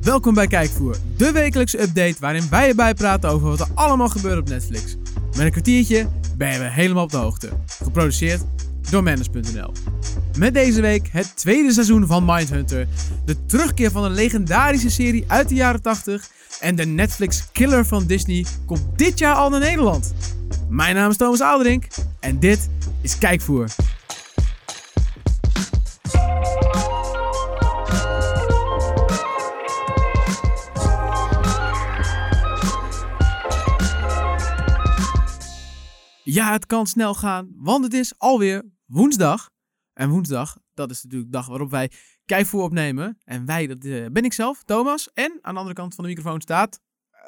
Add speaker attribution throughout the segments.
Speaker 1: Welkom bij Kijkvoer, de wekelijkse update waarin wij je bijpraten over wat er allemaal gebeurt op Netflix. Met een kwartiertje ben je weer helemaal op de hoogte. Geproduceerd door Manners.nl. Met deze week het tweede seizoen van Mindhunter, de terugkeer van een legendarische serie uit de jaren 80 en de Netflix killer van Disney komt dit jaar al naar Nederland. Mijn naam is Thomas Aldrink en dit is Kijkvoer. Ja, het kan snel gaan, want het is alweer woensdag. En woensdag, dat is natuurlijk de dag waarop wij Kijkvoer opnemen. En wij, dat eh, ben ik zelf, Thomas. En aan de andere kant van de microfoon staat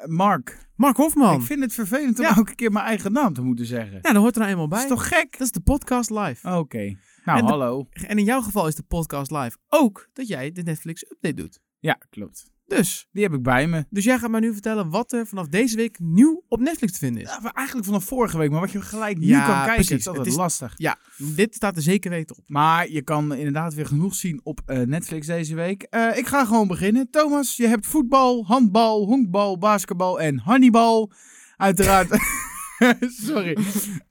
Speaker 2: Mark,
Speaker 1: Mark Hofman.
Speaker 2: ik vind het vervelend om
Speaker 1: Ja.
Speaker 2: elke keer mijn eigen naam te moeten zeggen.
Speaker 1: Ja, dat hoort er nou eenmaal bij.
Speaker 2: Dat is toch gek?
Speaker 1: Dat is de podcast live.
Speaker 2: Oké. Nou,
Speaker 1: En de-
Speaker 2: hallo.
Speaker 1: En in jouw geval is de podcast live ook dat jij de Netflix update doet.
Speaker 2: Ja, klopt.
Speaker 1: Dus,
Speaker 2: Die heb ik bij me.
Speaker 1: dus jij gaat mij nu vertellen wat er vanaf deze week nieuw op Netflix te vinden is.
Speaker 2: Ja, maar eigenlijk vanaf vorige week, maar wat je gelijk nu
Speaker 1: Ja,
Speaker 2: kan kijken
Speaker 1: precies.
Speaker 2: is altijd
Speaker 1: Het is-
Speaker 2: lastig.
Speaker 1: Ja, dit staat er zeker weten op.
Speaker 2: Maar je kan inderdaad weer genoeg zien op eh, Netflix deze week. Eh, ik ga gewoon beginnen. Thomas, je hebt voetbal, handbal, honkbal, basketbal en honeybal. Uiteraard. Sorry,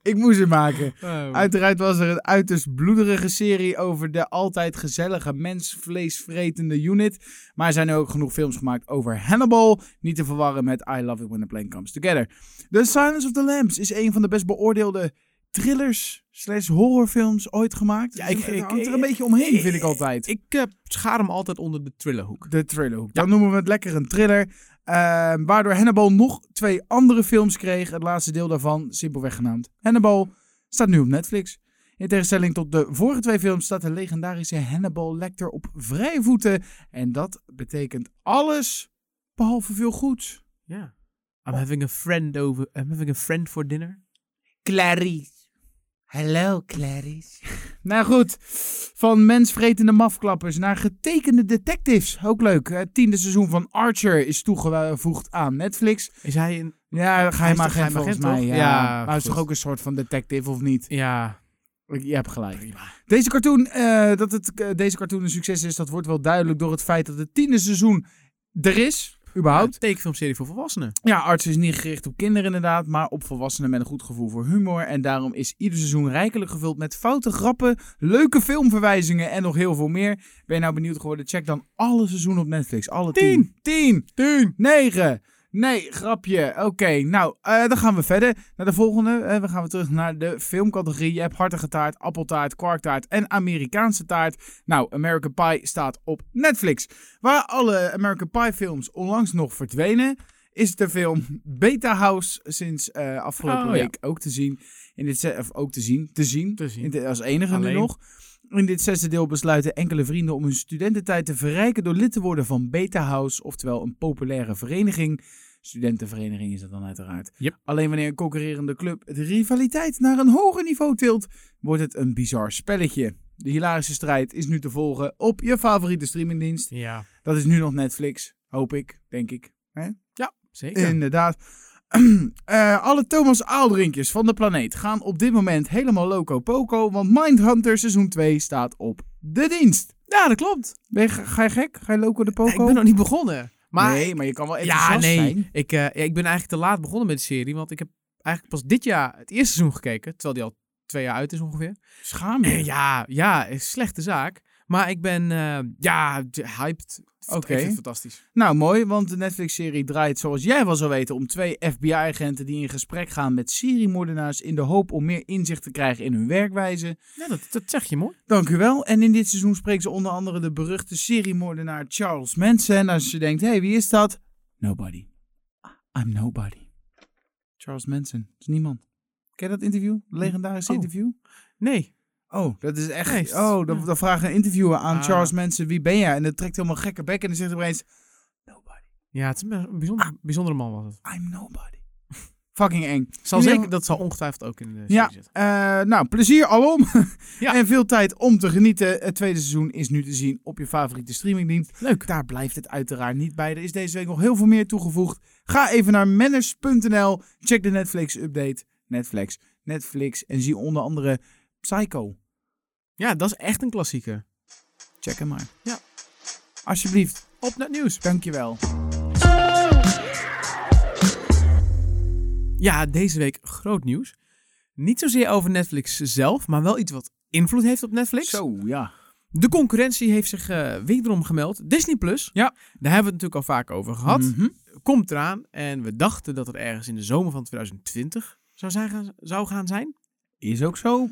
Speaker 2: ik moest het maken.
Speaker 1: Ehm.
Speaker 2: Uiteraard was er een uiterst bloederige serie over de altijd gezellige mensvleesvretende unit. Maar er zijn nu ook genoeg films gemaakt over Hannibal. Niet te verwarren met I Love It When the Plane Comes Together. The Silence of the Lambs is een van de best beoordeelde thrillers slash horrorfilms ooit gemaakt.
Speaker 1: Ja,
Speaker 2: Dus
Speaker 1: ik-
Speaker 2: het
Speaker 1: ik-
Speaker 2: hangt er een beetje omheen, vind ik altijd.
Speaker 1: Ik eh, schaar hem altijd onder de thrillerhoek.
Speaker 2: De thrillerhoek. Dan noemen we het lekker een thriller. Ehm, waardoor Hannibal nog twee andere films kreeg. Het laatste deel daarvan, simpelweg genaamd Hannibal, staat nu op Netflix. In tegenstelling tot de vorige twee films staat de legendarische Hannibal Lecter op vrije voeten. En dat betekent alles behalve veel goeds.
Speaker 1: Ja. I'm having a friend over. I'm having a friend for dinner.
Speaker 2: Clarice. Hallo, Clarice. nou goed, van mensvretende mafklappers naar getekende detectives. Ook leuk. Het tiende seizoen van Archer is toegevoegd aan Netflix.
Speaker 1: Is hij een.
Speaker 2: Ja,
Speaker 1: Hij is
Speaker 2: geheim
Speaker 1: toch
Speaker 2: agent
Speaker 1: geheim
Speaker 2: volgens
Speaker 1: agent, toch?
Speaker 2: mij. Ja,
Speaker 1: Ja,
Speaker 2: maar hij is
Speaker 1: goed.
Speaker 2: toch ook een soort van detective of niet?
Speaker 1: Ja.
Speaker 2: Ik- Je hebt gelijk. Deze cartoon, eh, dat het, eh, deze cartoon een succes is, dat wordt wel duidelijk door het feit dat het tiende seizoen er is.
Speaker 1: Een
Speaker 2: Überhaupt.
Speaker 1: tekenfilmserie voor volwassenen.
Speaker 2: Ja, Arts is niet gericht op kinderen inderdaad, maar op volwassenen met een goed gevoel voor humor. En daarom is ieder seizoen rijkelijk gevuld met foute grappen, leuke filmverwijzingen en nog heel veel meer. Ben je nou benieuwd geworden? Check dan alle seizoenen op Netflix. Alle tien. Tien. Tien. Negen. Nee, grapje. Oké, nou, eh, dan gaan we verder naar de volgende. Eh, we gaan weer terug naar de filmcategorie. Je hebt hartige taart, appeltaart, kwarktaart en Amerikaanse taart. Nou, American Pie staat op Netflix. Waar alle American Pie films onlangs nog verdwenen, is de film Beta House sinds eh, afgelopen
Speaker 1: Oh, ja.
Speaker 2: week ook te zien. In dit se- of ook te zien, te zien.
Speaker 1: Te zien.
Speaker 2: In dit- als enige
Speaker 1: Alleen.
Speaker 2: nu nog. In dit zesde deel besluiten enkele vrienden om hun studententijd te verrijken door lid te worden van Beta House, oftewel een populaire vereniging. Studentenvereniging is dat dan uiteraard.
Speaker 1: Yep.
Speaker 2: Alleen wanneer een concurrerende club de rivaliteit naar een hoger niveau tilt, wordt het een bizar spelletje. De hilarische strijd is nu te volgen op je favoriete streamingdienst.
Speaker 1: Ja.
Speaker 2: Dat is nu nog Netflix, hoop ik, denk ik.
Speaker 1: Zeker.
Speaker 2: Inderdaad. Eh, alle Thomas Aaldrinkjes van de planeet gaan op dit moment helemaal loco poco, want Mindhunter seizoen 2 staat op de dienst.
Speaker 1: ja, dat klopt.
Speaker 2: Ben je, ga je gek? Ga je loco de poco?
Speaker 1: Ik ben nog niet begonnen. Maar
Speaker 2: nee, maar je kan wel enthousiast
Speaker 1: ja, nee.
Speaker 2: zijn.
Speaker 1: Ik, eh, ja, ik ben eigenlijk te laat begonnen met de serie. Want ik heb eigenlijk pas dit jaar het eerste seizoen gekeken. Terwijl die al twee jaar uit is ongeveer.
Speaker 2: Schaam je.
Speaker 1: Eh, Ja, ja, is slechte zaak. Maar ik ben, eh, ja, d- hyped. Oké.
Speaker 2: Oké.
Speaker 1: Ik vind het fantastisch.
Speaker 2: Nou, mooi, want de Netflix-serie draait, zoals jij wel zou weten, om twee FBI-agenten die in gesprek gaan met seriemoordenaars in de hoop om meer inzicht te krijgen in hun werkwijze.
Speaker 1: Ja, dat, dat zeg je mooi.
Speaker 2: Dank u wel. En in dit seizoen spreekt ze onder andere de beruchte seriemoordenaar Charles Manson. En als je denkt, hé, hey, wie is dat? Nobody. I'm nobody. Charles Manson. Dat is niemand. Ken je dat interview? Legendarische
Speaker 1: Oh.
Speaker 2: interview?
Speaker 1: Nee.
Speaker 2: Oh, dat is echt...
Speaker 1: Geest.
Speaker 2: Oh, dan, dan vraagt een interviewer aan
Speaker 1: Ah.
Speaker 2: Charles Manson, wie ben jij? En dat trekt helemaal gekke bek en dan zegt hij opeens... Nobody.
Speaker 1: Ja, het is een bijzonder, bijzondere man was het.
Speaker 2: I'm nobody. Fucking eng.
Speaker 1: Zal
Speaker 2: In ieder
Speaker 1: zeker, dat zal ongetwijfeld ook in de serie
Speaker 2: Ja,
Speaker 1: zitten.
Speaker 2: eh, nou, plezier alom.
Speaker 1: Ja.
Speaker 2: En veel tijd om te genieten. Het tweede seizoen is nu te zien op je favoriete streamingdienst.
Speaker 1: Leuk.
Speaker 2: Daar blijft het uiteraard niet bij. Er is deze week nog heel veel meer toegevoegd. Ga even naar manners.nl. Check de Netflix-update. Netflix, Netflix. En zie onder andere Psycho.
Speaker 1: Ja, dat is echt een klassieker.
Speaker 2: Check hem maar.
Speaker 1: Ja.
Speaker 2: Alsjeblieft.
Speaker 1: op naar het nieuws.
Speaker 2: Dankjewel.
Speaker 1: Ja, deze week groot nieuws. Niet zozeer over Netflix zelf, maar wel iets wat invloed heeft op Netflix.
Speaker 2: Zo, ja.
Speaker 1: De concurrentie heeft zich eh, wederom gemeld. Disney Plus. Daar
Speaker 2: Ja.
Speaker 1: hebben we het natuurlijk al vaak over gehad.
Speaker 2: Mhm.
Speaker 1: Komt eraan. En we dachten dat het ergens in de zomer van 2020 zou, zijn, gaan- zou gaan zijn.
Speaker 2: Is ook zo.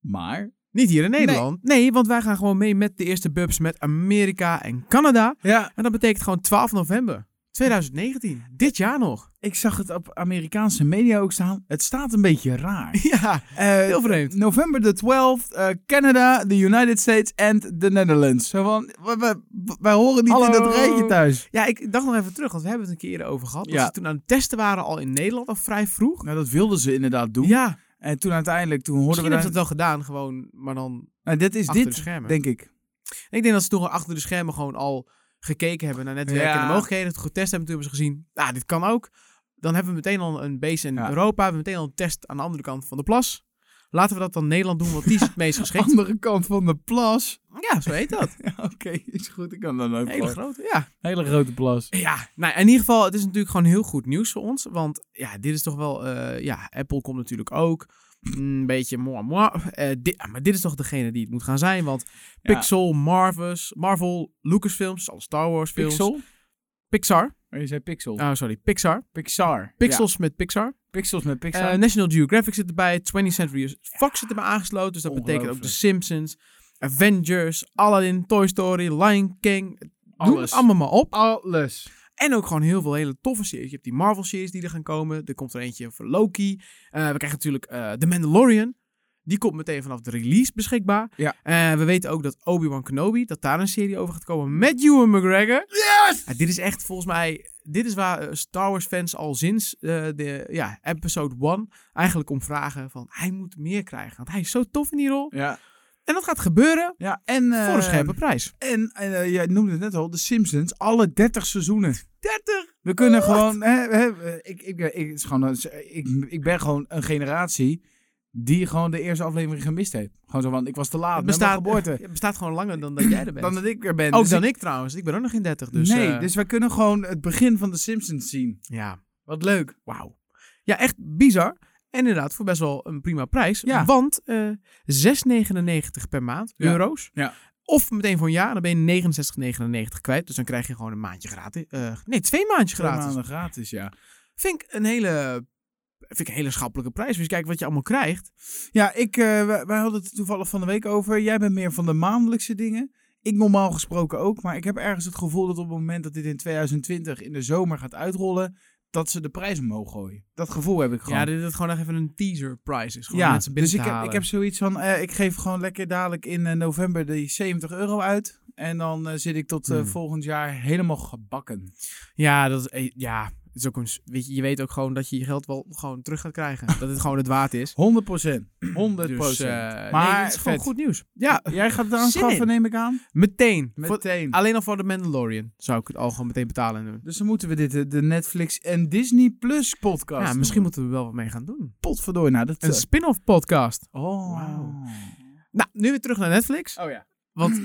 Speaker 2: Maar.
Speaker 1: Niet hier in Nederland. Nee. want wij gaan gewoon mee met de eerste bubs met Amerika en Canada.
Speaker 2: Ja,
Speaker 1: En dat betekent gewoon 12 november 2019. Dit jaar nog.
Speaker 2: ik zag het op Amerikaanse media ook staan. Het staat een beetje raar. Eh,
Speaker 1: Ja, heel vreemd.
Speaker 2: November the 12th, eh, Canada, the United States en the Netherlands. Zo van, w- w- w- wij horen niet in
Speaker 1: Hallo.
Speaker 2: dat rijtje thuis.
Speaker 1: Ja, ik dacht nog even terug, want we hebben het een keer eerder over gehad. Dat
Speaker 2: Ja.
Speaker 1: ze toen aan het testen waren al in Nederland, al vrij vroeg.
Speaker 2: Nou, dat wilden ze inderdaad doen.
Speaker 1: Ja,
Speaker 2: En toen uiteindelijk, toen hoorden
Speaker 1: misschien
Speaker 2: we...
Speaker 1: hebben ze
Speaker 2: daar-
Speaker 1: het wel gedaan, gewoon, maar dan
Speaker 2: Nou, dit is
Speaker 1: achter de
Speaker 2: dit,
Speaker 1: schermen.
Speaker 2: denk ik.
Speaker 1: Ik denk dat ze toen achter de schermen gewoon al gekeken hebben naar netwerken en
Speaker 2: Ja.
Speaker 1: de mogelijkheden. Het getest hebben, toen hebben ze gezien, nou, dit kan ook. Dan hebben we meteen al een base in
Speaker 2: Ja.
Speaker 1: Europa, hebben we meteen al een test aan de andere kant van de plas. Laten we dat dan Nederland doen, want die is het meest geschikt.
Speaker 2: Andere kant van de plas.
Speaker 1: Ja, zo heet dat.
Speaker 2: Ja, Oké, is goed. Ik kan dan ook
Speaker 1: Hele grote, ja.
Speaker 2: Hele grote plas.
Speaker 1: Ja, nou, in ieder geval, het is natuurlijk gewoon heel goed nieuws voor ons. Want ja, dit is toch wel, eh, ja, Apple komt natuurlijk ook. Een beetje moi moi. Eh, dit- maar dit is toch degene die het moet gaan zijn, want
Speaker 2: Ja.
Speaker 1: Pixel, Marvels, Marvel, Lucasfilms, alle Star Wars films.
Speaker 2: Pixel?
Speaker 1: Pixar.
Speaker 2: Oh, je zei Pixel.
Speaker 1: Oh, sorry. Pixar.
Speaker 2: Pixar.
Speaker 1: Pixels met Pixar.
Speaker 2: Ja, Pixels met Pixar.
Speaker 1: Eh, National Geographic zit erbij. 20th Century Fox zit erbij aangesloten. Dus dat betekent ook
Speaker 2: Ongelooflijk.
Speaker 1: The Simpsons, Avengers, Aladdin, Toy Story, Lion King. Doe het
Speaker 2: Alles.
Speaker 1: allemaal maar op.
Speaker 2: Alles.
Speaker 1: En ook gewoon heel veel hele toffe series. Je hebt die Marvel-series die er gaan komen. Er komt er eentje voor Loki. Eh, we krijgen natuurlijk eh The Mandalorian. Die komt meteen vanaf de release beschikbaar.
Speaker 2: Ja.
Speaker 1: Eh, we weten ook dat Obi-Wan Kenobi, dat daar een serie over gaat komen met Ewan McGregor.
Speaker 2: Yes!
Speaker 1: Ja, dit is echt volgens mij. Dit is waar eh, Star Wars fans al sinds eh, de, ja, episode 1 eigenlijk om vragen. Van hij moet meer krijgen. Want hij is zo tof in die rol.
Speaker 2: Ja.
Speaker 1: En dat gaat gebeuren
Speaker 2: ja en, eh,
Speaker 1: voor een scherpe prijs.
Speaker 2: En, en eh, jij noemde het net al, de Simpsons, alle 30 seizoenen.
Speaker 1: 30!
Speaker 2: We kunnen
Speaker 1: What?
Speaker 2: gewoon. Hè, hè, eh, ik, ik, ik, het is gewoon een- ik, ik ben gewoon een generatie die gewoon de eerste aflevering gemist heeft. Gewoon zo, want ik was te laat.
Speaker 1: Het
Speaker 2: Ah, met mijn
Speaker 1: bestaat,
Speaker 2: geboorte.
Speaker 1: het bestaat gewoon langer dan dat jij er bent.
Speaker 2: Dan dat ik weer ben.
Speaker 1: ook
Speaker 2: Dus
Speaker 1: dan
Speaker 2: ik-
Speaker 1: ik, trouwens. Ik ben ook nog geen 30. Dus,
Speaker 2: nee,
Speaker 1: eh,
Speaker 2: dus wij kunnen gewoon het begin van de Simpsons zien.
Speaker 1: Ja,
Speaker 2: Wat leuk.
Speaker 1: wauw. Ja, echt bizar. En inderdaad, voor best wel een prima prijs.
Speaker 2: Ja.
Speaker 1: Want eh 6,99 per maand,
Speaker 2: Ja.
Speaker 1: euro's.
Speaker 2: Ja.
Speaker 1: Of meteen voor een jaar, dan ben je 69,99 kwijt. Dus dan krijg je gewoon een maandje gratis. Eh, nee, twee maandjes
Speaker 2: Twee
Speaker 1: gratis.
Speaker 2: maanden gratis, ja.
Speaker 1: Vind ik een hele... Vind ik een hele schappelijke prijs. Dus kijk wat je allemaal krijgt.
Speaker 2: Ja, ik, eh, wij, wij hadden het er toevallig van de week over. Jij bent meer van de maandelijkse dingen. Ik normaal gesproken ook. Maar ik heb ergens het gevoel dat op het moment dat dit in 2020 in de zomer gaat uitrollen, dat ze de prijs omhoog gooien. Dat gevoel heb ik gewoon.
Speaker 1: Ja, dit is gewoon echt even een teaser price is. Gewoon
Speaker 2: ja,
Speaker 1: mensen binnen
Speaker 2: dus ik
Speaker 1: te
Speaker 2: heb, ik
Speaker 1: halen.
Speaker 2: heb zoiets van, eh, ik geef gewoon lekker dadelijk in eh, november die 70 euro uit. En dan eh, zit ik tot eh,
Speaker 1: Hmm.
Speaker 2: volgend jaar helemaal gebakken.
Speaker 1: Ja, dat is, eh, ja, het is ook een, s- weet je, je weet ook gewoon dat je je geld wel gewoon terug gaat krijgen. dat het gewoon het waard is.
Speaker 2: 100 procent. 100
Speaker 1: Dus, eh,
Speaker 2: Maar
Speaker 1: nee, dit is gewoon
Speaker 2: vet.
Speaker 1: goed nieuws. Ja,
Speaker 2: Jij gaat het
Speaker 1: Zin in.
Speaker 2: aanschaffen, neem ik aan?
Speaker 1: meteen. Voor-
Speaker 2: Meteen.
Speaker 1: alleen al voor de Mandalorian zou ik het al gewoon meteen betalen. en doen.
Speaker 2: Dus dan moeten we dit eh, de Netflix en Disney Plus podcast
Speaker 1: Ja, misschien moeten we er wel wat mee gaan doen.
Speaker 2: potverdooi. Nou, dat...
Speaker 1: Een spin-off podcast.
Speaker 2: oh.
Speaker 1: Wauw. Nou, nu weer terug naar Netflix.
Speaker 2: Oh ja,
Speaker 1: Want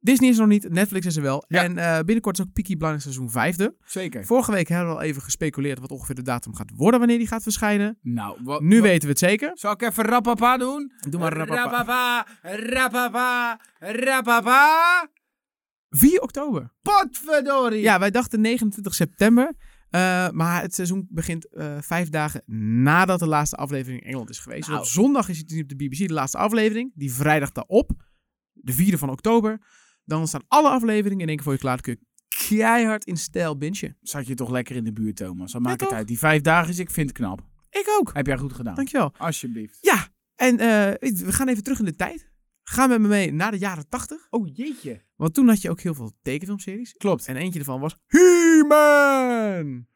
Speaker 1: Disney is er nog niet, Netflix is er wel.
Speaker 2: Ja.
Speaker 1: En eh, binnenkort is ook Peaky Blinders seizoen vijfde.
Speaker 2: zeker.
Speaker 1: Vorige week hebben we al even gespeculeerd wat ongeveer de datum gaat worden wanneer die gaat verschijnen.
Speaker 2: Nou, wat...
Speaker 1: Nu weten we het zeker. Eh,
Speaker 2: Zal ik even rapapa doen?
Speaker 1: Doe maar rapapa.
Speaker 2: Rapapa, rapapa, rapapa.
Speaker 1: 4 oktober.
Speaker 2: Potverdorie.
Speaker 1: Ja, wij dachten 29 september. eh, maar het seizoen begint eh, vijf dagen nadat de laatste aflevering in Engeland is geweest.
Speaker 2: Nou.
Speaker 1: Dus op zondag is het nu op de BBC de laatste aflevering. Die vrijdag daarop, de 4e van oktober. Dan staan alle afleveringen in één keer voor je klaar. Dan kun je keihard in stijl bingen.
Speaker 2: Zat je toch lekker in de buurt, Thomas. Dan maakt het
Speaker 1: toch?
Speaker 2: uit. Die vijf dagen is, ik vind het knap.
Speaker 1: Ik ook.
Speaker 2: Heb jij goed gedaan.
Speaker 1: Dankjewel.
Speaker 2: Alsjeblieft.
Speaker 1: Ja, en eh, we gaan even terug in de tijd. Gaan met me mee naar de jaren 80.
Speaker 2: Oh jeetje.
Speaker 1: Want toen had je ook heel veel tekenfilmseries.
Speaker 2: Klopt.
Speaker 1: En eentje ervan was He-Man!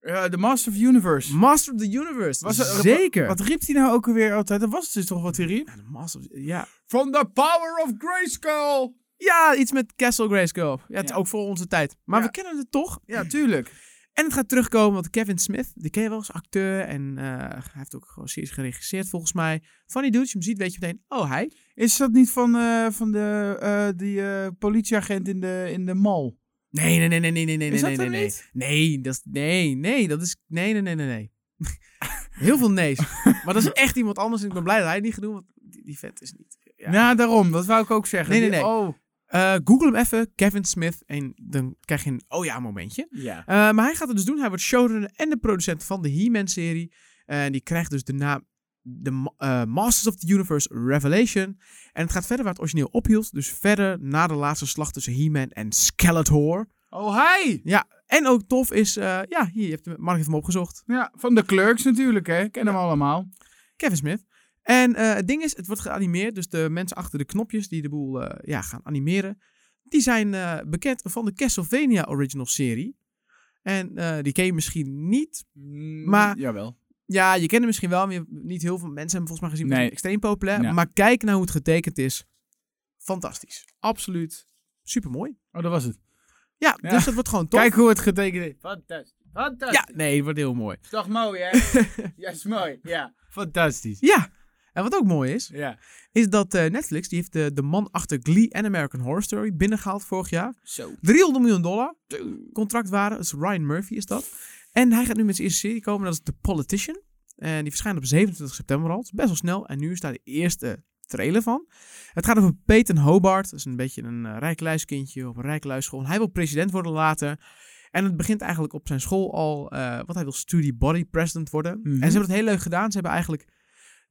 Speaker 2: Eh, The Master of the Universe.
Speaker 1: Master of the Universe.
Speaker 2: Was er-
Speaker 1: Zeker.
Speaker 2: Wat riep hij nou ook alweer altijd? Dat was het dus toch wat hij riep?
Speaker 1: Ja, de Master of- ja.
Speaker 2: From the power of Grayskull.
Speaker 1: ja, iets met Castle Grayskull. Ja, het is
Speaker 2: Ja.
Speaker 1: ook voor onze tijd. Maar
Speaker 2: Ja.
Speaker 1: we kennen het toch.
Speaker 2: Ja, tuurlijk.
Speaker 1: En het gaat terugkomen, want Kevin Smith, die ken je wel als acteur. En eh, hij heeft ook gewoon series geregisseerd, volgens mij. Van die dude, als je hem ziet, weet je meteen, oh, hij.
Speaker 2: Is dat niet van, eh, van de, eh, die eh, politieagent in de, in de mal?
Speaker 1: Nee, nee, nee, nee, nee, nee, nee,
Speaker 2: Is dat
Speaker 1: nee, nee,
Speaker 2: hem
Speaker 1: nee.
Speaker 2: niet?
Speaker 1: Nee, dat is, nee, nee, dat is, nee, nee, nee, nee, nee. Heel veel nee's. Maar dat is echt iemand anders en ik ben blij dat hij het niet gaat doen, want die, die vent is niet. Ja.
Speaker 2: Ja. Nou, daarom. Dat wou ik ook zeggen.
Speaker 1: Nee, nee,
Speaker 2: Die-
Speaker 1: nee.
Speaker 2: Oh.
Speaker 1: Eh, Google hem even, Kevin Smith, en dan krijg je een oh ja momentje.
Speaker 2: Ja.
Speaker 1: Eh, maar hij gaat het dus doen. Hij wordt showrunner en de producent van de He-Man-serie. En die krijgt dus de naam de, Ma- eh, Masters of the Universe Revelation. En het gaat verder waar het origineel ophield. Dus verder na de laatste slag tussen He-Man en Skeletor.
Speaker 2: Oh, hij!
Speaker 1: En ook tof is, eh, ja, hier, je hebt hem, Mark heeft hem opgezocht.
Speaker 2: Ja, van de clerks natuurlijk, hè. Kennen we allemaal.
Speaker 1: Kevin Smith. En eh, het ding is, het wordt geanimeerd. Dus de mensen achter de knopjes die de boel eh, ja, gaan animeren. Die zijn eh, bekend van de Castlevania Original serie. En eh, die ken je misschien niet, Maar-
Speaker 2: Jawel.
Speaker 1: Ja, je kent hem misschien wel, maar je- niet heel veel mensen hebben hem volgens mij gezien.
Speaker 2: Nee.
Speaker 1: Nee. Extreem populair.
Speaker 2: Ja.
Speaker 1: Maar kijk naar hoe het getekend is. Fantastisch. Absoluut. Supermooi.
Speaker 2: Oh, dat was het.
Speaker 1: Ja,
Speaker 2: Ja.
Speaker 1: dus dat wordt gewoon tof.
Speaker 2: Kijk hoe het getekend is.
Speaker 3: Fantastisch. Fantastisch.
Speaker 1: Ja, nee, het wordt heel mooi.
Speaker 3: Is toch mooi, hè? ja, is mooi. Ja.
Speaker 2: Fantastisch.
Speaker 1: Ja. En wat ook mooi is,
Speaker 2: Ja.
Speaker 1: is dat eh, Netflix, die heeft de, de man achter Glee en American Horror Story binnengehaald vorig jaar.
Speaker 3: Zo.
Speaker 1: 300 miljoen dollar contractwaarde. Dat is Ryan Murphy is dat. En hij gaat nu met zijn eerste serie komen. Dat is The Politician. En die verschijnt op 27 september al. Het is best wel snel. En nu is daar de eerste trailer van. Het gaat over Peyton Hobart. Dat is een beetje een eh, rijk luiskindje op een rijk luisschool. En Hij wil president worden later. En het begint eigenlijk op zijn school al. eh want hij wil studie body president worden.
Speaker 2: Mhm.
Speaker 1: En ze hebben het heel leuk gedaan. Ze hebben eigenlijk...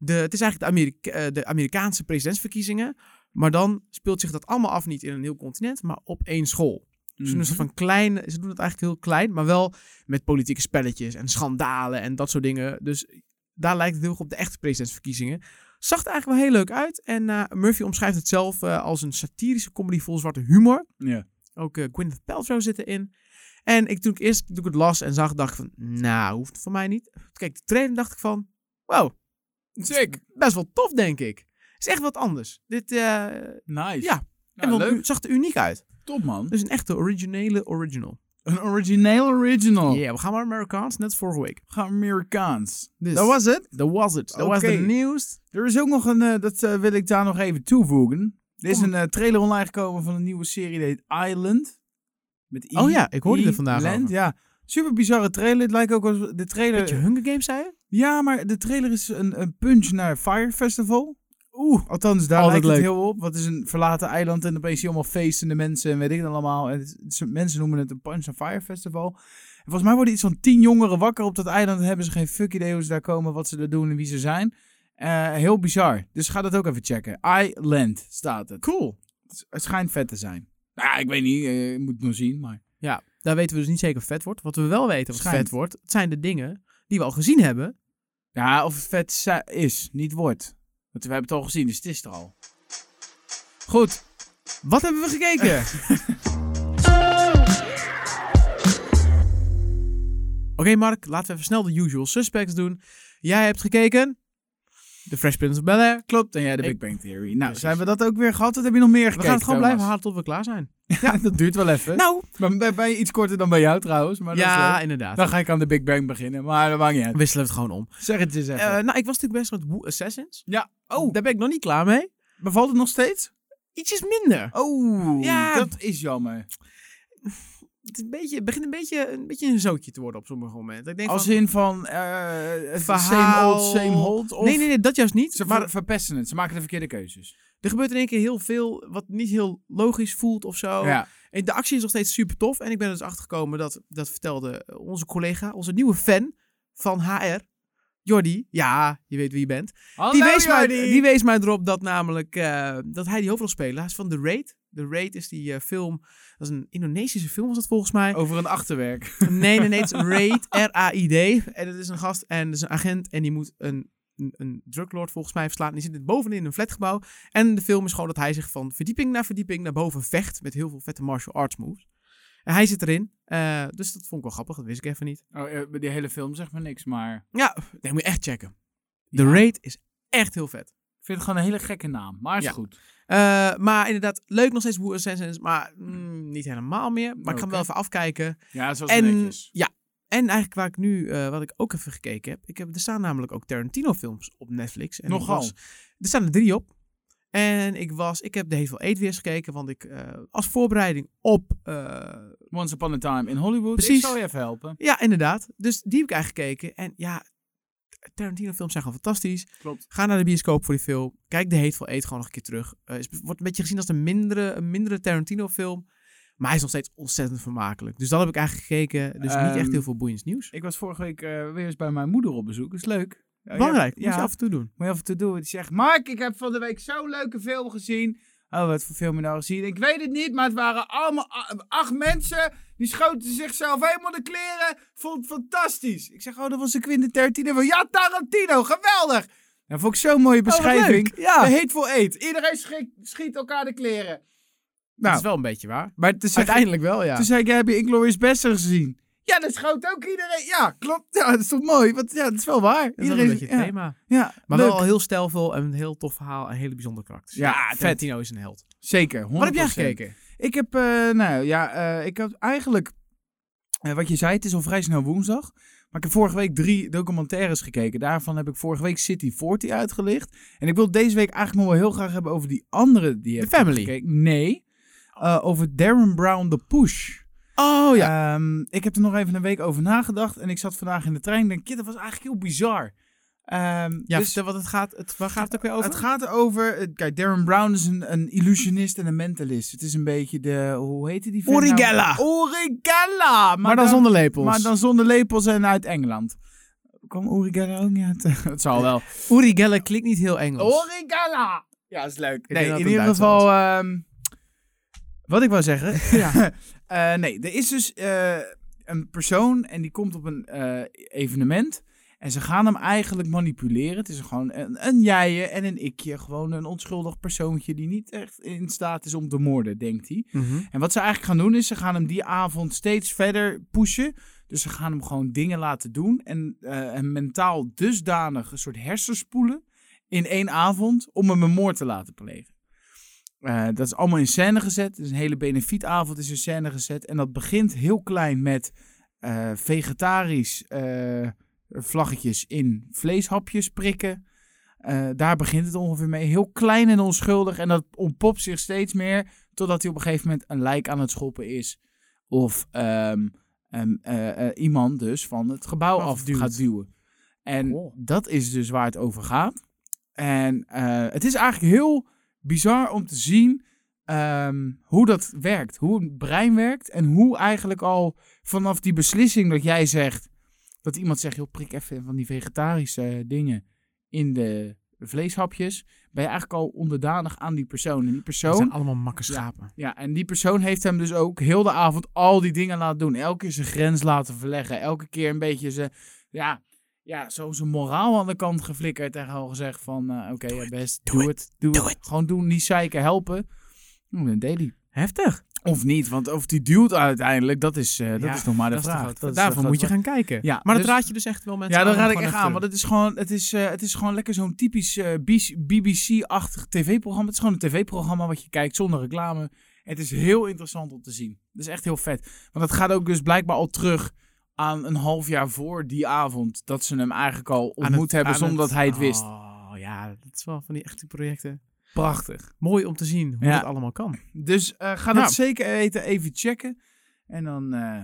Speaker 1: De, het is eigenlijk de, Amerika- eh, de Amerikaanse presidentsverkiezingen. Maar dan speelt zich dat allemaal af niet in een heel continent, maar op één school. Ze
Speaker 2: Mhm.
Speaker 1: doen het van klein, ze doen het eigenlijk heel klein, maar wel met politieke spelletjes en schandalen en dat soort dingen. Dus daar lijkt het heel erg op de echte presidentsverkiezingen. Zag er eigenlijk wel heel leuk uit. En eh, Murphy omschrijft het zelf eh, als een satirische comedy vol zwarte humor.
Speaker 2: Ja.
Speaker 1: Ook eh, Gwyneth Paltrow zit erin. En ik, toen ik eerst toen ik het las en zag, dacht ik van, nou, hoeft het voor mij niet. Toen keek ik de trailer en dacht ik van, wow,
Speaker 2: Sick.
Speaker 1: best wel tof, denk ik. Is echt wat anders. Dit eh,
Speaker 2: Nice.
Speaker 1: Ja. en
Speaker 2: Nou,
Speaker 1: wel,
Speaker 2: leuk.
Speaker 1: u- zag er uniek uit.
Speaker 2: Top, man.
Speaker 1: Dus een echte originele original.
Speaker 2: Een origineel original.
Speaker 1: Ja, we gaan maar Amerikaans, net als vorige week.
Speaker 2: Ga Amerikaans.
Speaker 1: Dus,
Speaker 2: Dat was het.
Speaker 1: dat was het. Dat was
Speaker 2: Oké.
Speaker 1: het nieuws.
Speaker 2: Er is ook nog een, eh, dat eh, wil ik daar nog even toevoegen. Er is
Speaker 1: Kom.
Speaker 2: een eh, trailer online gekomen van een nieuwe serie, die heet Island. Met I.
Speaker 1: Oh ja, ik hoorde
Speaker 2: I-
Speaker 1: er vandaag
Speaker 2: Land,
Speaker 1: over.
Speaker 2: ja. Super bizarre trailer. Het lijkt ook als de trailer...
Speaker 1: Beetje Hunger Games, zei je?
Speaker 2: Ja, maar de trailer is een, een punch naar Fire Festival. Oeh, althans, daar
Speaker 1: altijd
Speaker 2: lijkt het
Speaker 1: leuk.
Speaker 2: heel op. Wat is een verlaten eiland en opeens zie je allemaal feestende mensen en weet ik het allemaal. En het is- het is- mensen noemen het een punch naar Fire Festival. En volgens mij worden iets van tien jongeren wakker op dat eiland en hebben ze geen fuck idee hoe ze daar komen, wat ze daar doen en wie ze zijn. Eh, heel bizar. Dus ga dat ook even checken. Island staat het. Cool. Het schijnt vet te zijn. Nou, ik weet niet. eh, ik moet het nog zien, maar...
Speaker 1: Ja, daar weten we dus niet zeker of vet wordt. Wat we wel weten wat
Speaker 2: Schijnt.
Speaker 1: vet wordt, het zijn de dingen die we al gezien hebben.
Speaker 2: Ja, of het vet zi- is, niet wordt. Want we hebben het al gezien, dus het is er al.
Speaker 1: Goed, wat hebben we gekeken? Oké Mark, laten we even snel de usual suspects doen. Jij hebt gekeken... The Fresh Prince of Bel-Air.
Speaker 2: Klopt, en jij de
Speaker 1: Ik-
Speaker 2: Big Bang Theory. Nou,
Speaker 1: Precies.
Speaker 2: zijn we dat ook weer gehad? Wat heb je nog meer
Speaker 1: We
Speaker 2: gekeken,
Speaker 1: gaan het gewoon blijven
Speaker 2: Thomas?
Speaker 1: halen tot we klaar zijn.
Speaker 2: Ja, dat duurt wel even.
Speaker 1: Nou,
Speaker 2: Maar bij, bij iets korter dan bij jou trouwens, maar dat is
Speaker 1: ja,
Speaker 2: leuk.
Speaker 1: inderdaad.
Speaker 2: Dan ga ik aan de Big Bang beginnen, maar dat maakt niet uit.
Speaker 1: Wisselen we het gewoon om.
Speaker 2: Zeg het eens even.
Speaker 1: Eh, nou, ik was natuurlijk best met Woo Assassins.
Speaker 2: ja. Oh,
Speaker 1: Daar ben ik nog niet klaar mee.
Speaker 2: bevalt het nog steeds?
Speaker 1: Ietsjes minder.
Speaker 2: Oh,
Speaker 1: Ja.
Speaker 2: dat is jammer.
Speaker 1: Het, is een beetje, het begint een beetje, een beetje een zootje te worden op sommige momenten. Ik denk
Speaker 2: Als
Speaker 1: van,
Speaker 2: in van, eh het same
Speaker 1: Verhaal.
Speaker 2: old, same old, of
Speaker 1: nee, nee, nee, dat juist niet.
Speaker 2: ze
Speaker 1: maar
Speaker 2: ver- verpesten het, ze maken de verkeerde keuzes.
Speaker 1: er gebeurt in één keer heel veel wat niet heel logisch voelt of zo.
Speaker 2: Ja.
Speaker 1: En de actie is nog steeds super tof. En ik ben er dus achtergekomen dat, dat vertelde onze collega, onze nieuwe fan van HR, Jordi. Ja, je weet wie je bent. Die wees, mij, die wees mij erop dat namelijk eh, dat hij die hoofdrol speelde. Hij is van The Raid. The Raid is die eh, film, dat is een Indonesische film was dat volgens mij.
Speaker 2: Over een achterwerk.
Speaker 1: Nee, nee, nee. Het is Raid, R-A-I-D. En dat is een gast en dat is een agent. En die moet een, een, een druglord volgens mij verslaan. En die zit bovenin in een flatgebouw. En de film is gewoon dat hij zich van verdieping naar verdieping naar boven vecht. Met heel veel vette martial arts moves. En hij zit erin. Eh, dus dat vond ik wel grappig. Dat wist ik even niet.
Speaker 2: Oh, eh, die hele film zegt me niks, maar...
Speaker 1: Ja, nee, moet je echt checken. The
Speaker 2: Ja.
Speaker 1: Raid is echt heel vet.
Speaker 2: Ik vind het gewoon een hele gekke naam, maar is
Speaker 1: Ja.
Speaker 2: goed.
Speaker 1: Eh, maar inderdaad, leuk nog steeds Who Assassins. Maar mm, niet helemaal meer. Maar ik ga hem
Speaker 2: Oké.
Speaker 1: wel even afkijken.
Speaker 2: Ja, zoals
Speaker 1: En ja, En eigenlijk waar ik nu, eh, wat ik ook even gekeken heb. Ik heb er staan namelijk ook Tarantino-films op Netflix. En ik
Speaker 2: Nogal.
Speaker 1: was- er staan er drie op. En ik was, ik heb de Hevel Eet weer eens gekeken. Want ik, eh, als voorbereiding op eh,
Speaker 2: Once Upon a Time in Hollywood.
Speaker 1: Precies.
Speaker 2: Ik zal je even helpen.
Speaker 1: Ja, inderdaad. Dus die heb ik eigenlijk gekeken. En ja, Tarantino-films zijn gewoon fantastisch.
Speaker 2: Klopt.
Speaker 1: Ga naar de bioscoop voor die film. Kijk de Hateful Eight gewoon nog een keer terug. Eh, is- wordt een beetje gezien als een mindere, een mindere Tarantino-film. Maar hij is nog steeds ontzettend vermakelijk. Dus dat heb ik eigenlijk gekeken. Dus niet echt
Speaker 2: Ehm,
Speaker 1: heel veel boeiends nieuws.
Speaker 2: Ik was vorige week eh, weer eens bij mijn moeder op bezoek. Is leuk. Oh, Ja,
Speaker 1: Belangrijk,
Speaker 2: Ja, Oh,
Speaker 1: moet je af en toe doen.
Speaker 2: moet je af en toe doen. Die zegt,
Speaker 3: Mark, ik heb van de week zo'n leuke film gezien.
Speaker 2: oh, wat voor film je nou gezien?
Speaker 3: Ik weet het niet, maar het waren allemaal a- acht mensen. Die schoten zichzelf helemaal de kleren. Vond het fantastisch.
Speaker 2: Ik zeg, oh, dat was de Quentin Tarantino. Van, ja, Tarantino, geweldig. Dat vond ik zo'n
Speaker 1: Oh,
Speaker 2: mooie beschrijving.
Speaker 1: Ja,
Speaker 2: De Hateful Eight.
Speaker 3: Iedereen schiet, schiet elkaar de kleren.
Speaker 1: dat
Speaker 2: Nou,
Speaker 1: is wel een beetje waar.
Speaker 2: maar het is
Speaker 1: Uiteindelijk wel, ja.
Speaker 2: Toen zei ik, ja, heb je Inglourious Basterds gezien?
Speaker 3: Ja, dat schoot ook iedereen. Ja, klopt.
Speaker 2: Ja, dat is toch mooi? Want ja, dat is wel waar.
Speaker 1: dat is wel een beetje het thema.
Speaker 2: ja, ja,
Speaker 1: Maar
Speaker 2: leuk.
Speaker 1: wel al heel stijlvol en een heel tof verhaal en hele bijzondere karakters.
Speaker 2: Ja, vet.
Speaker 1: Tarantino is een held.
Speaker 2: Zeker, 100%.
Speaker 1: Wat heb jij gekeken?
Speaker 2: Ik heb, eh, nou ja, eh, ik heb eigenlijk, eh, wat je zei, het is al vrij snel woensdag. Maar ik heb vorige week drie documentaires gekeken. Daarvan heb ik vorige week City 40 uitgelicht. En ik wil deze week eigenlijk nog wel heel graag hebben over die andere die je
Speaker 1: The
Speaker 2: hebt
Speaker 1: Family.
Speaker 2: gekeken. Nee, Eh, over Darren Brown The Push.
Speaker 1: Oh ja.
Speaker 2: Ehm, ik heb er nog even een week over nagedacht. En ik zat vandaag in de trein en denk, "Kid, dat was eigenlijk heel bizar. Ehm,
Speaker 1: ja,
Speaker 2: dus-
Speaker 1: vertel wat het gaat. Het, waar gaat het ook weer over?
Speaker 2: het gaat erover. eh, Kijk, Darren Brown is een, een illusionist en een mentalist. Het is een beetje de. Hoe heette die? vent nou?
Speaker 1: Origella.
Speaker 2: Origella! Maar,
Speaker 1: maar dan zonder lepels.
Speaker 2: Maar dan zonder lepels en uit Engeland. Kwam Origella ook niet uit? Het zal wel.
Speaker 1: Uri Geller klinkt niet heel Engels.
Speaker 3: Origala. Ja, is leuk.
Speaker 1: Ik
Speaker 2: nee,
Speaker 1: denk dat
Speaker 2: in
Speaker 1: het
Speaker 2: ieder
Speaker 1: Duits
Speaker 2: geval.
Speaker 1: was.
Speaker 2: ehm, wat ik wou zeggen. Eh, nee, er is dus eh, een persoon en die komt op een eh, evenement. En ze gaan hem eigenlijk manipuleren. Het is gewoon een, een jijje en een ikje. Gewoon een onschuldig persoontje die niet echt in staat is om te moorden, denkt hij.
Speaker 1: Mhm.
Speaker 2: En wat ze eigenlijk gaan doen is, ze gaan hem die avond steeds verder pushen. Dus ze gaan hem gewoon dingen laten doen. En eh, hem mentaal dusdanig een soort hersenspoelen in één avond om hem een moord te laten plegen. Eh, dat is allemaal in scène gezet. Dus een hele benefietavond is in scène gezet. En dat begint heel klein met eh, vegetarisch eh, vlaggetjes in vleeshapjes prikken. Eh, daar begint het ongeveer mee. Heel klein en onschuldig. En dat ontpopt zich steeds meer. Totdat hij op een gegeven moment een lijk aan het schoppen is. Of ehm, ehm, eh, eh, iemand dus van het gebouw af
Speaker 1: Afduwt.
Speaker 2: gaat duwen. En
Speaker 1: Cool.
Speaker 2: dat is dus waar het over gaat. En eh, het is eigenlijk heel bizar om te zien ehm, hoe dat werkt. Hoe een brein werkt. En hoe eigenlijk al vanaf die beslissing dat jij zegt. Dat iemand zegt, joh, prik even van die vegetarische dingen in de vleeshapjes. Ben je eigenlijk al onderdanig aan die persoon. En die
Speaker 1: Het
Speaker 2: persoon
Speaker 1: zijn allemaal makke schapen.
Speaker 2: ja, en die persoon heeft hem dus ook heel de avond al die dingen laten doen. Elke keer zijn grens laten verleggen. Elke keer een beetje zijn, ja, ja, zo zijn moraal aan de kant geflikkerd. En gewoon gezegd van, eh, oké, ja, best,
Speaker 1: doe
Speaker 2: doe het, doe
Speaker 1: doe
Speaker 2: het. Gewoon doen, niet zeiken, helpen. Nou, dan deed hij.
Speaker 1: Heftig.
Speaker 2: Of niet, want of die duwt uiteindelijk, dat is, eh, dat
Speaker 1: Ja,
Speaker 2: is nog maar de
Speaker 1: dat is de
Speaker 2: vraag.
Speaker 1: grote-
Speaker 2: Dat is de
Speaker 1: Daarvoor
Speaker 2: grote
Speaker 1: moet je
Speaker 2: vraag.
Speaker 1: gaan kijken.
Speaker 2: Ja,
Speaker 1: maar
Speaker 2: dus-
Speaker 1: dat raad je dus echt wel mensen
Speaker 2: Ja, dat
Speaker 1: aan om
Speaker 2: raad ik
Speaker 1: gewoon
Speaker 2: echt
Speaker 1: even
Speaker 2: aan, want het is gewoon, het is, eh, het is gewoon lekker zo'n typisch eh, BC BBC-achtig tv-programma. Het is gewoon een tv-programma wat je kijkt zonder reclame. Het is heel interessant om te zien. Het is echt heel vet. Want het gaat ook dus blijkbaar al terug aan een half jaar voor die avond. Dat ze hem eigenlijk al
Speaker 1: Aan het-
Speaker 2: ontmoet hebben
Speaker 1: aan
Speaker 2: zonder dat hij het wist.
Speaker 1: Oh ja, dat is wel van die echte projecten.
Speaker 2: Prachtig.
Speaker 1: Mooi om te zien hoe
Speaker 2: Ja.
Speaker 1: dat allemaal kan.
Speaker 2: Dus eh, ga
Speaker 1: Nou.
Speaker 2: dat zeker eten, even checken. En dan eh,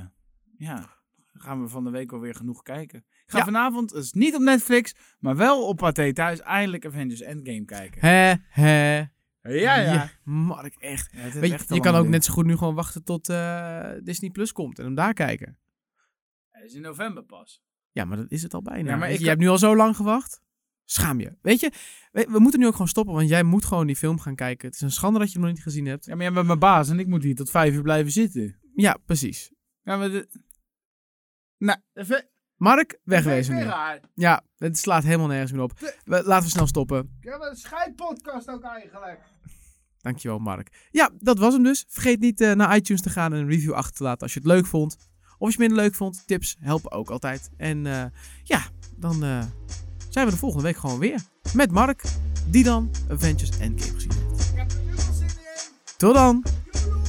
Speaker 2: ja, gaan we van de week alweer genoeg kijken. Ik ga
Speaker 1: Ja.
Speaker 2: vanavond, dus niet op Netflix, maar wel op Pathé Thuis, eindelijk Avengers Endgame kijken.
Speaker 1: Hè, hè.
Speaker 3: Ja, ja.
Speaker 1: Mark, echt.
Speaker 2: Ja, het is
Speaker 1: Weet je,
Speaker 2: echt een
Speaker 1: je kan
Speaker 2: lang
Speaker 1: ook
Speaker 2: ding.
Speaker 1: net zo goed nu gewoon wachten tot eh, Disney Plus komt en hem daar kijken.
Speaker 3: Het is in november pas.
Speaker 1: Ja, maar dat is het al bijna.
Speaker 2: Ja, maar
Speaker 1: Weet
Speaker 2: ik
Speaker 1: je, je
Speaker 2: kan-
Speaker 1: hebt nu al zo lang gewacht. Schaam je. Weet je, we, we moeten nu ook gewoon stoppen, want jij moet gewoon die film gaan kijken. Het is een schande dat je hem nog niet gezien hebt.
Speaker 2: Ja, maar jij bent mijn baas en ik moet hier tot vijf uur blijven zitten.
Speaker 1: Ja, precies.
Speaker 2: Ja, maar de-
Speaker 3: Dat vind-
Speaker 1: Mark,
Speaker 3: dat vind ik
Speaker 1: wegwezen
Speaker 3: weer
Speaker 1: nu.
Speaker 3: raar.
Speaker 1: Ja, het slaat helemaal nergens meer op. We- laten we snel stoppen.
Speaker 3: Ja, maar een scheidpodcast ook eigenlijk.
Speaker 1: Dankjewel, Mark. Ja, dat was hem dus. Vergeet niet eh, naar iTunes te gaan en een review achter te laten als je het leuk vond. Of als je het minder leuk vond. Tips helpen ook altijd. En eh, ja, dan eh, zijn we de volgende week gewoon weer. Met Mark, die dan Avengers Endgame gezien heeft.
Speaker 3: Ik heb er nu al zin in.
Speaker 1: Tot dan!
Speaker 3: Joejoe.